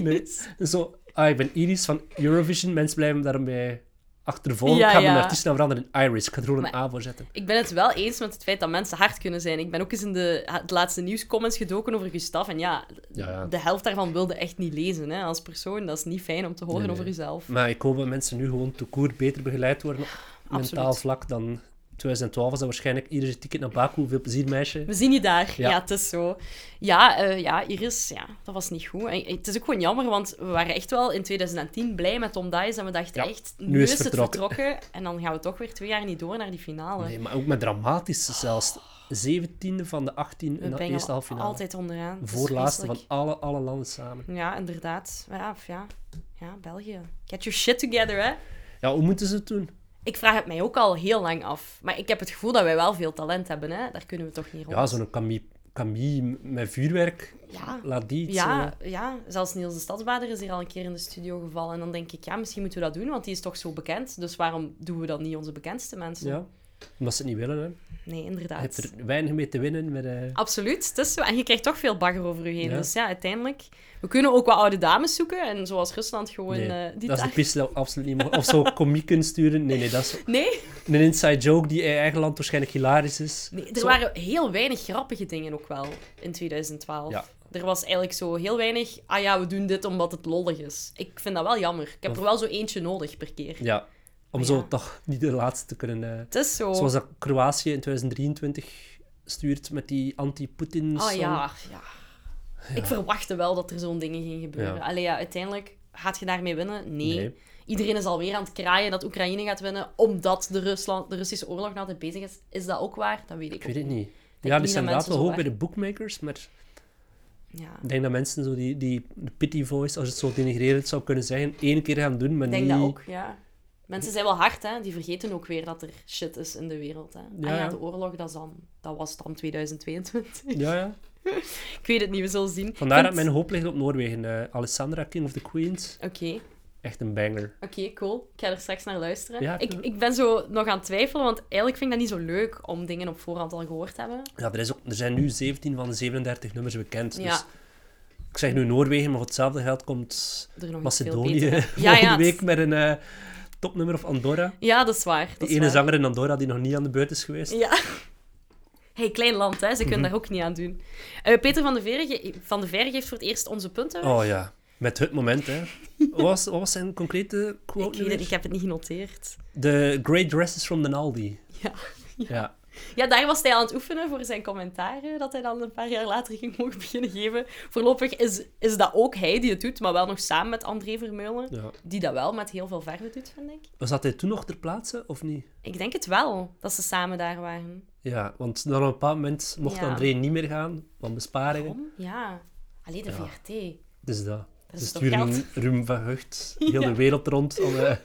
Speaker 2: Nee. Zo, ah, ik ben Iris van Eurovision. Mensen blijven daarmee achtervolgen.
Speaker 1: Ja,
Speaker 2: ik ga mijn
Speaker 1: ja.
Speaker 2: artiestennaam veranderen in Iris. Ik ga er gewoon een
Speaker 1: Maar-
Speaker 2: A voor zetten.
Speaker 1: Ik ben het wel eens met het feit dat mensen hard kunnen zijn. Ik ben ook eens in de, het laatste nieuwscomments gedoken over Gustaf. En ja,
Speaker 2: Ja, ja.
Speaker 1: de helft daarvan wilde echt niet lezen hè, als persoon. Dat is niet fijn om te horen
Speaker 2: Nee, nee.
Speaker 1: over jezelf.
Speaker 2: Maar ik hoop dat mensen nu gewoon te koer beter begeleid worden op mentaal
Speaker 1: Absoluut.
Speaker 2: vlak dan 2012 was dat waarschijnlijk iedere ticket naar Baku. Veel plezier, meisje.
Speaker 1: We zien je daar.
Speaker 2: Ja.
Speaker 1: Ja, het is zo. Ja, eh, ja, Iris, ja, dat was niet goed. En eh, het is ook gewoon jammer, want we waren echt wel in 2010 blij met Tom Dice. En we dachten
Speaker 2: Ja,
Speaker 1: echt,
Speaker 2: nu
Speaker 1: nu,
Speaker 2: is
Speaker 1: is,
Speaker 2: het
Speaker 1: het
Speaker 2: vertrokken.
Speaker 1: vertrokken. En dan gaan we toch weer twee jaar niet door naar die finale.
Speaker 2: Nee, maar ook met dramatische zelfs. 17e van de 18
Speaker 1: we
Speaker 2: in de
Speaker 1: brengen
Speaker 2: eerste halve finale.
Speaker 1: altijd onderaan. Dat is
Speaker 2: Voorlaatste van
Speaker 1: vreselijk.
Speaker 2: alle, alle landen samen.
Speaker 1: Ja, inderdaad. Maar Ja, of ja. ja, België. Get your shit together, hè.
Speaker 2: Ja, hoe moeten ze het doen?
Speaker 1: Ik vraag het mij ook al heel lang af. Maar ik heb het gevoel dat wij wel veel talent hebben, hè. Daar kunnen we toch niet rond.
Speaker 2: Ja, zo'n Camille, Camille met vuurwerk.
Speaker 1: Ja.
Speaker 2: Laat die iets... eh,
Speaker 1: Ja, ja, zelfs Niels de Stadsbader is hier al een keer in de studio gevallen. En dan denk ik, ja, misschien moeten we dat doen, want die is toch zo bekend. Dus waarom doen we dan niet onze bekendste mensen?
Speaker 2: ja. Omdat ze het niet willen, hè.
Speaker 1: Nee,
Speaker 2: Je hebt
Speaker 1: inderdaad.
Speaker 2: er weinig mee te winnen. Met,
Speaker 1: Ah,
Speaker 2: eh,
Speaker 1: Absoluut, het is zo. En je krijgt toch veel bagger over je heen.
Speaker 2: Ja.
Speaker 1: Dus ja, uiteindelijk... We kunnen ook wat oude dames zoeken. En zoals Rusland gewoon
Speaker 2: nee,
Speaker 1: eh, die
Speaker 2: dat is de
Speaker 1: dag-
Speaker 2: piste dat we absoluut niet mogen. Of zo komieken sturen. Nee, nee, dat is
Speaker 1: Nee?
Speaker 2: een inside joke die in eigen land waarschijnlijk hilarisch is.
Speaker 1: Nee, er
Speaker 2: Zo-
Speaker 1: waren heel weinig grappige dingen ook wel in 2012.
Speaker 2: Ja.
Speaker 1: Er was eigenlijk zo heel weinig... Ah ja, we doen dit omdat het lollig is. Ik vind dat wel jammer. Ik heb er wel zo eentje nodig per keer.
Speaker 2: Ja, om
Speaker 1: Maar
Speaker 2: zo
Speaker 1: ja. Oh.
Speaker 2: toch niet de laatste te kunnen... eh,
Speaker 1: Het is zo...
Speaker 2: Zoals dat Kroatië in 2023 stuurt met die anti-Poetin
Speaker 1: Ah
Speaker 2: song.
Speaker 1: ja, ja. Ik verwachtte wel dat er zo'n dingen ging gebeuren.
Speaker 2: Ja.
Speaker 1: Allee, ja, uiteindelijk gaat je daarmee winnen? Nee.
Speaker 2: Nee.
Speaker 1: Iedereen is alweer aan het kraaien dat Oekraïne gaat winnen, omdat de, Rusland, de Russische oorlog nog altijd bezig is. Is dat ook waar? Dat weet ik,
Speaker 2: Ik weet het niet.
Speaker 1: denk niet
Speaker 2: Ja,
Speaker 1: dat
Speaker 2: die zijn inderdaad
Speaker 1: mensen
Speaker 2: wel
Speaker 1: zo
Speaker 2: hoog bij
Speaker 1: erg-
Speaker 2: de bookmakers, maar
Speaker 1: Ja.
Speaker 2: ik denk dat mensen zo die, die de pity voice, als je het zo denigrerend zou kunnen zeggen, één keer gaan doen, maar
Speaker 1: Ik denk
Speaker 2: niet...
Speaker 1: dat ook, ja. Mensen zijn wel hard, hè. Die vergeten ook weer dat er shit is in de wereld, hè.
Speaker 2: Ja,
Speaker 1: ah ja,
Speaker 2: ja.
Speaker 1: de oorlog, dat, is dan, dat was dan 2022.
Speaker 2: Ja, ja.
Speaker 1: ik weet het niet, we zullen zien. Ik
Speaker 2: Vandaar dat
Speaker 1: vind-
Speaker 2: mijn hoop ligt op Noorwegen. Eh, Alessandra, King of the Queens.
Speaker 1: Oké.
Speaker 2: Echt een banger.
Speaker 1: Oké, cool. Ik ga er straks naar luisteren.
Speaker 2: Ja,
Speaker 1: ik,
Speaker 2: tuurlijk.
Speaker 1: ik ben zo nog aan het twijfelen, want eigenlijk vind ik dat niet zo leuk om dingen op voorhand al gehoord te hebben.
Speaker 2: Ja, er, is ook, er zijn nu 17 van de 37 nummers bekend. Dus
Speaker 1: Ja.
Speaker 2: ik zeg nu Noorwegen, maar voor hetzelfde geld komt
Speaker 1: Er nog iets veel
Speaker 2: Macedonië
Speaker 1: beter.
Speaker 2: volgende
Speaker 1: Ja, ja,
Speaker 2: week
Speaker 1: het-
Speaker 2: met een eh, topnummer of Andorra.
Speaker 1: Ja, dat is waar.
Speaker 2: De
Speaker 1: Dat
Speaker 2: ene
Speaker 1: is waar.
Speaker 2: zanger in Andorra die nog niet aan de beurt is geweest.
Speaker 1: Ja. Hey, klein land, hè. Ze kunnen
Speaker 2: Mhm.
Speaker 1: daar ook niet aan doen. Eh, Peter van de, Verge, van de Ver geeft voor het eerst onze punten. weg.
Speaker 2: Oh ja, met het moment, hè. Wat was, wat was zijn concrete quote
Speaker 1: ik
Speaker 2: nu
Speaker 1: weet het,
Speaker 2: weer?
Speaker 1: ik heb het niet genoteerd.
Speaker 2: The great dresses from the Aldi.
Speaker 1: Ja.
Speaker 2: Ja.
Speaker 1: Ja, daar was hij aan het oefenen voor zijn commentaren, dat hij dan een paar jaar later ging mogen beginnen geven. Voorlopig is, is dat ook hij die het doet, maar wel nog samen met André Vermeulen,
Speaker 2: Ja.
Speaker 1: die dat wel met heel veel verve doet, vind ik.
Speaker 2: Was dat hij toen nog ter plaatse, of niet?
Speaker 1: Ik denk het wel, dat ze samen daar waren.
Speaker 2: Ja, want dan op een bepaald moment mocht
Speaker 1: Ja.
Speaker 2: André niet meer gaan, van besparingen.
Speaker 1: Waarom? Ja. Alleen de
Speaker 2: Ja.
Speaker 1: VRT.
Speaker 2: Dus dat.
Speaker 1: Dat
Speaker 2: Ze
Speaker 1: is toch
Speaker 2: sturen
Speaker 1: geld?
Speaker 2: Ruim van Hucht heel de
Speaker 1: Ja.
Speaker 2: wereld rond om eh,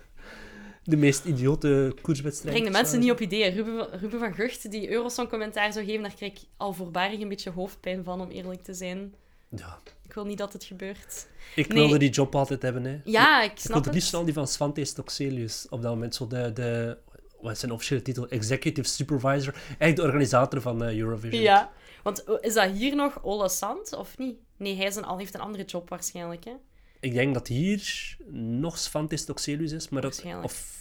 Speaker 2: de meest idiote eh, koerswedstrijden.
Speaker 1: Breng de
Speaker 2: te
Speaker 1: mensen
Speaker 2: staan.
Speaker 1: niet op ideeën. Ruben, van- Ruben van Gucht, die Eurosong-commentaar zou geven, daar krijg ik al voorbarig een beetje hoofdpijn van, om eerlijk te zijn.
Speaker 2: Ja.
Speaker 1: Ik wil niet dat het gebeurt.
Speaker 2: Ik
Speaker 1: Nee.
Speaker 2: wilde die job altijd hebben. Hè.
Speaker 1: Ja, ik
Speaker 2: ik wilde
Speaker 1: snap
Speaker 2: het
Speaker 1: het.
Speaker 2: liefst al die van Svante Stokselius op dat moment. Zo de, de, wat is zijn officiële titel? Executive Supervisor. Eigenlijk de organisator van eh, Eurovision.
Speaker 1: Ja. Want eh, is dat hier nog Ola Sant, of niet? Nee, hij is een, al- heeft een andere job waarschijnlijk, hè?
Speaker 2: Ik denk dat hier nog Svante Stokselius is, maar dat...
Speaker 1: Waarschijnlijk.
Speaker 2: Of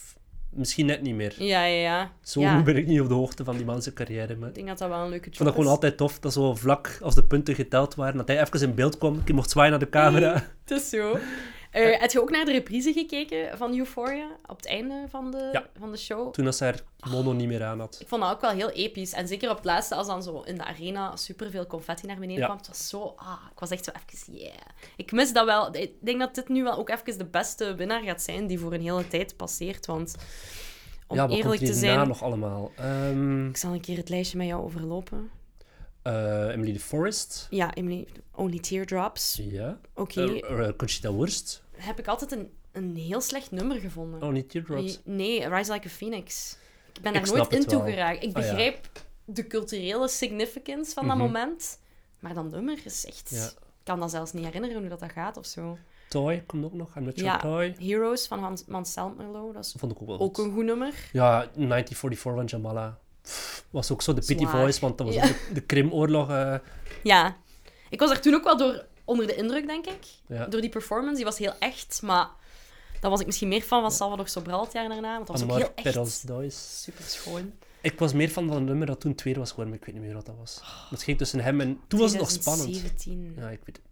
Speaker 2: misschien net niet meer.
Speaker 1: Ja, ja, ja.
Speaker 2: Zo
Speaker 1: Ja,
Speaker 2: ben ik niet op de hoogte van die man zijn carrière. Maar...
Speaker 1: Ik denk dat dat wel een leuke
Speaker 2: Ik
Speaker 1: job
Speaker 2: vond dat
Speaker 1: is.
Speaker 2: gewoon altijd tof, dat zo vlak als de punten geteld waren, dat hij even in beeld kwam. Ik mocht zwaaien naar de camera.
Speaker 1: Het is zo. Eh, heb je ook naar de reprise gekeken van Euphoria? Op het einde van de,
Speaker 2: Ja.
Speaker 1: van de show?
Speaker 2: Toen als ze haar mono niet meer aan had.
Speaker 1: Ik vond dat ook wel heel episch. En zeker op het laatste, als dan zo in de arena superveel confetti naar beneden
Speaker 2: Ja.
Speaker 1: kwam. Het was zo... Ah, ik was echt zo even... Yeah. Ik mis dat wel. Ik denk dat dit nu wel ook even de beste winnaar gaat zijn die voor een hele tijd passeert. Want om
Speaker 2: ja, wat
Speaker 1: eerlijk
Speaker 2: komt
Speaker 1: te
Speaker 2: hierna
Speaker 1: zijn...
Speaker 2: nog allemaal? Ehm,
Speaker 1: Ik zal een keer het lijstje met jou overlopen.
Speaker 2: eh, Emily de Forest.
Speaker 1: Ja, Emily, Only Teardrops.
Speaker 2: Ja.
Speaker 1: Oké,
Speaker 2: Eh, eh, Conchita Wurst.
Speaker 1: heb ik altijd een, een heel slecht nummer gevonden.
Speaker 2: Oh, niet Teardrops.
Speaker 1: Nee, Rise Like a Phoenix. Ik ben daar
Speaker 2: Ik
Speaker 1: nooit
Speaker 2: snap het
Speaker 1: in toe
Speaker 2: wel.
Speaker 1: geraakt. Ik
Speaker 2: Ah, ja. Mhm.
Speaker 1: begrijp de culturele significance van dat moment, maar dat nummer is echt...
Speaker 2: Ja.
Speaker 1: Ik kan dat zelfs niet herinneren hoe dat, dat gaat of zo.
Speaker 2: Toy komt ook nog. aan met Your
Speaker 1: Ja,
Speaker 2: Toy.
Speaker 1: Heroes van Hans, Mansell Merlo, dat is
Speaker 2: Dat vond ik ook wel
Speaker 1: ook
Speaker 2: goed.
Speaker 1: een goed nummer.
Speaker 2: Ja, 1944 van Jamala. Pff, was ook zo de pity
Speaker 1: Zwaar.
Speaker 2: voice, want dat was
Speaker 1: Ja.
Speaker 2: ook de, de Krimoorlog. eh,
Speaker 1: Ja. Ik was er toen ook wel door onder de indruk, denk ik.
Speaker 2: Ja.
Speaker 1: Door die performance, die was heel echt, maar... Dan was ik misschien meer fan van Salvador Sobral het jaar daarna, want dat was ook
Speaker 2: Amor
Speaker 1: heel echt.
Speaker 2: Perros Dois.
Speaker 1: Super schoon.
Speaker 2: Ik was meer van dat nummer dat toen tweede was geworden, maar ik weet niet meer wat dat was. Dat ging tussen hem en... Toen was het nog spannend.
Speaker 1: 2017. Ja.
Speaker 2: Ja, ik weet het.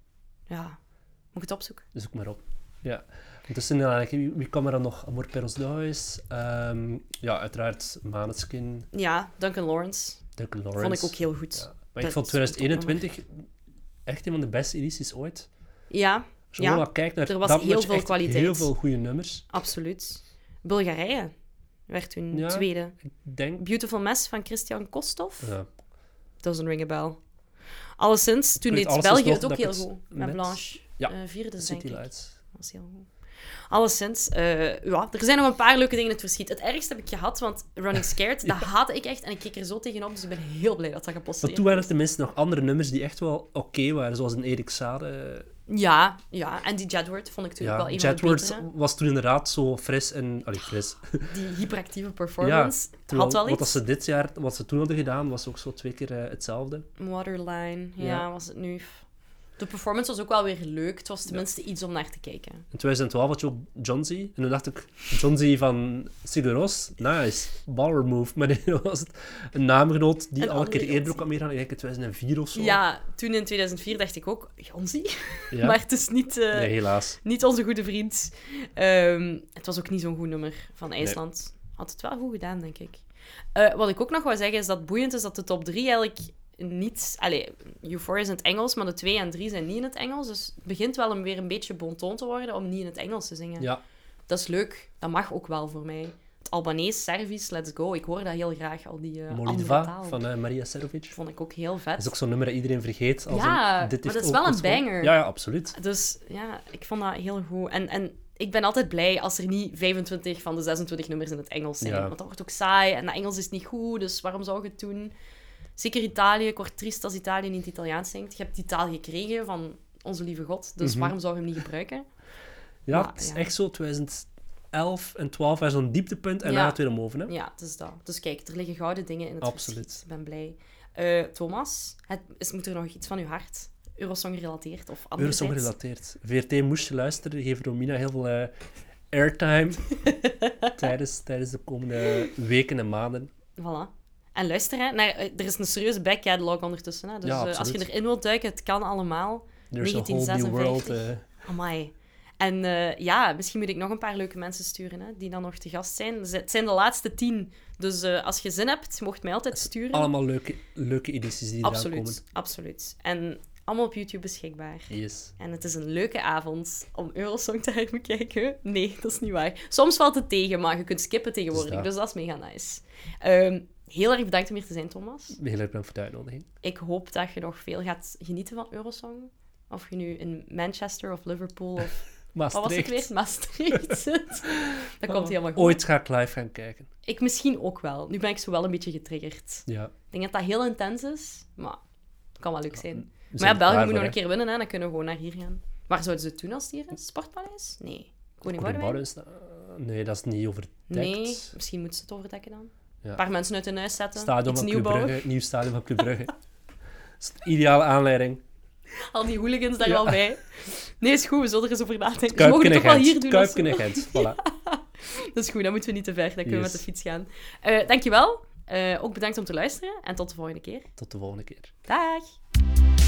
Speaker 1: Moet ik het opzoeken?
Speaker 2: Zoek maar op. Ja. Intussen, eh, wie, wie kwam er dan nog? Amor Perros Dois. ehm, ja, uiteraard Maneskin,
Speaker 1: Ja, Duncan Lawrence.
Speaker 2: Duncan Lawrence.
Speaker 1: Vond ik ook heel goed.
Speaker 2: Ja. Maar ik
Speaker 1: Dat
Speaker 2: vond
Speaker 1: is een topnummer.
Speaker 2: 2021 echt een van de beste edities ooit.
Speaker 1: Ja,
Speaker 2: Als je gewoon
Speaker 1: Ja.
Speaker 2: wat kijkt naar
Speaker 1: Er was
Speaker 2: dat
Speaker 1: heel
Speaker 2: much,
Speaker 1: veel
Speaker 2: echt
Speaker 1: kwaliteit.
Speaker 2: heel veel goede nummers.
Speaker 1: absoluut. Bulgarije werd toen
Speaker 2: Ja.
Speaker 1: tweede.
Speaker 2: Ik denk...
Speaker 1: Beautiful Mess van Christian Kostov.
Speaker 2: Ja.
Speaker 1: Doesn't ring a bell. Alleszins, toen
Speaker 2: Ik weet
Speaker 1: deed
Speaker 2: alleszins
Speaker 1: België
Speaker 2: nog
Speaker 1: het ook
Speaker 2: dat ik
Speaker 1: heel
Speaker 2: het
Speaker 1: goed. Met
Speaker 2: met-
Speaker 1: Blanche.
Speaker 2: Ja,
Speaker 1: eh, vierde, denk
Speaker 2: City
Speaker 1: ik.
Speaker 2: Lights.
Speaker 1: Dat was heel goed. Alleszins, eh, ja, er zijn nog een paar leuke dingen in het verschiet. Het ergste heb ik gehad, want Running Scared, dat haatte ik echt. En ik keek er zo tegenop, dus ik ben heel blij dat dat
Speaker 2: Maar
Speaker 1: gepasseerd
Speaker 2: toen waren er tenminste nog andere nummers die echt wel oké waren, zoals een Erik Sade.
Speaker 1: Ja, ja. En die Jedward vond ik natuurlijk
Speaker 2: Ja,
Speaker 1: wel een van de
Speaker 2: Jetworth
Speaker 1: betere.
Speaker 2: was toen inderdaad zo fris en... Allee, fris.
Speaker 1: Die hyperactieve performance
Speaker 2: Terwijl
Speaker 1: had wel
Speaker 2: Wat
Speaker 1: iets.
Speaker 2: dat ze dit jaar, wat ze toen hadden gedaan, was ook zo twee keer eh, hetzelfde.
Speaker 1: Waterline, ja,
Speaker 2: Ja.
Speaker 1: was het nu. De performance was ook wel weer leuk. Het was tenminste iets om naar te kijken.
Speaker 2: In 2012 had je ook John Z. En toen dacht ik, John Z van Sigur Rós, nice, baller move. Maar nee, was het een naamgenoot die
Speaker 1: Een
Speaker 2: al een keer
Speaker 1: andere
Speaker 2: eerder
Speaker 1: John
Speaker 2: ook kwam meegaan, ik denk in 2004 of zo.
Speaker 1: Ja, toen in 2004 dacht ik ook, Jonsi.
Speaker 2: Ja.
Speaker 1: Maar het is niet, eh,
Speaker 2: Nee, helaas.
Speaker 1: niet onze goede vriend. Ehm, het was ook niet zo'n goed nummer van IJsland. Had het wel goed gedaan, denk ik. Eh, wat ik ook nog wou zeggen is dat boeiend is dat de top 3 eigenlijk niet. Allee, Euphoria is in het Engels, maar de 2 en 3 zijn niet in het Engels. Dus het begint wel een, weer een beetje bonton te worden om niet in het Engels te zingen.
Speaker 2: Ja,
Speaker 1: Dat is leuk. Dat mag ook wel voor mij. Het Albanese, Servisch, let's go. Ik hoor dat heel graag, al die eh andere
Speaker 2: Moliva
Speaker 1: taal.
Speaker 2: van eh, Maria Serovic.
Speaker 1: vond ik ook heel
Speaker 2: Dat
Speaker 1: vet.
Speaker 2: is ook zo'n nummer dat iedereen vergeet. Als
Speaker 1: Ja,
Speaker 2: een, dit
Speaker 1: maar
Speaker 2: heeft
Speaker 1: dat is
Speaker 2: ook
Speaker 1: wel een
Speaker 2: gewoon-
Speaker 1: banger.
Speaker 2: Ja, ja, absoluut.
Speaker 1: Dus ja, ik vond dat heel goed. En, en ik ben altijd blij als er niet 25 van de 26 nummers in het Engels zijn.
Speaker 2: Ja.
Speaker 1: Want dat wordt ook saai en dat Engels is niet goed, dus waarom zou je het doen? Zeker Italië. Ik word triest als Italië niet Italiaans zingt. Je hebt die taal gekregen van onze lieve God, dus
Speaker 2: Mhm.
Speaker 1: waarom zou je hem niet gebruiken?
Speaker 2: Ja,
Speaker 1: Maar,
Speaker 2: het is
Speaker 1: ja.
Speaker 2: echt zo 2011 en 12 was zo'n dieptepunt en
Speaker 1: Ja.
Speaker 2: daarna het weer omhoog. Hè?
Speaker 1: Ja, het is dat. Dus kijk, er liggen gouden dingen in het
Speaker 2: Absoluut.
Speaker 1: verschiet. Ik ben blij. Eh, Thomas, het, is, moet er nog iets van uw hart? Eurosong gerelateerd of anderzijds?
Speaker 2: Eurosong gerelateerd. VRT moest je luisteren, geeft Romina heel veel eh, airtime tijdens, tijdens de komende weken en maanden.
Speaker 1: Voilà. En luister, hè, naar, eh, er is een serieuze back catalog ondertussen. Hè, dus
Speaker 2: Ja,
Speaker 1: eh, als je
Speaker 2: absoluut.
Speaker 1: erin wilt duiken, het kan allemaal.
Speaker 2: There's a whole new world.
Speaker 1: 1956.
Speaker 2: eh.
Speaker 1: Amai. En eh, ja, misschien moet ik nog een paar leuke mensen sturen hè, die dan nog te gast zijn. Ze- Het zijn de laatste tien. Dus eh, als je zin hebt, mocht mij altijd sturen.
Speaker 2: eh, allemaal leuke, leuke edities die eraan komen.
Speaker 1: absoluut, absoluut. En allemaal op YouTube beschikbaar.
Speaker 2: Yes.
Speaker 1: En het is een leuke avond om Eurosong te gaan bekijken. Nee, dat is niet waar. Soms valt het tegen, maar je kunt skippen tegenwoordig.
Speaker 2: Dat is
Speaker 1: dus dat is mega nice. Ehm, heel erg bedankt om hier te zijn, Thomas.
Speaker 2: Heel erg bedankt voor de uitnodiging.
Speaker 1: Ik hoop dat je nog veel gaat genieten van Eurosong. Of je nu in Manchester of Liverpool of... Wat was het
Speaker 2: Maastricht. Oh.
Speaker 1: weer? Maastricht zit. Dat komt helemaal goed.
Speaker 2: Ooit ga ik live gaan kijken.
Speaker 1: Ik misschien ook wel. Nu ben ik zo wel een beetje getriggerd.
Speaker 2: Ja.
Speaker 1: Ik denk dat dat heel intens is, maar het kan wel leuk zijn.
Speaker 2: We
Speaker 1: maar
Speaker 2: zijn
Speaker 1: ja,
Speaker 2: er
Speaker 1: België moet
Speaker 2: klaar voor,
Speaker 1: nog
Speaker 2: hè.
Speaker 1: een keer winnen, hè. dan kunnen we gewoon naar hier gaan. Waar zouden ze het doen als het hier is? Sportpaleis? Nee. Koning
Speaker 2: Koning
Speaker 1: Boudewijn?
Speaker 2: Boudewijn is- Nee, dat is niet overdekt.
Speaker 1: Nee, misschien moeten ze het overdekken dan.
Speaker 2: Ja.
Speaker 1: Een paar mensen uit hun huis zetten,
Speaker 2: Stadion
Speaker 1: iets
Speaker 2: van
Speaker 1: nieuw bouwen.
Speaker 2: Club nieuw stadion van Club Brugge. Dat is de ideale aanleiding.
Speaker 1: Al die hooligans daar
Speaker 2: Ja.
Speaker 1: wel bij. Nee, is goed, we zullen er eens over nadenken. Ze mogen het
Speaker 2: Kuipken en
Speaker 1: ook wel
Speaker 2: Gent.
Speaker 1: hier doen. als ze-
Speaker 2: Kuipken en Gent, voilà.
Speaker 1: Dat is goed, dan moeten we niet te ver. Dan kunnen we
Speaker 2: Yes.
Speaker 1: met de fiets gaan. Eh, dankjewel. Eh ook bedankt om te luisteren. En tot de volgende keer.
Speaker 2: Tot de volgende keer.
Speaker 1: Dag.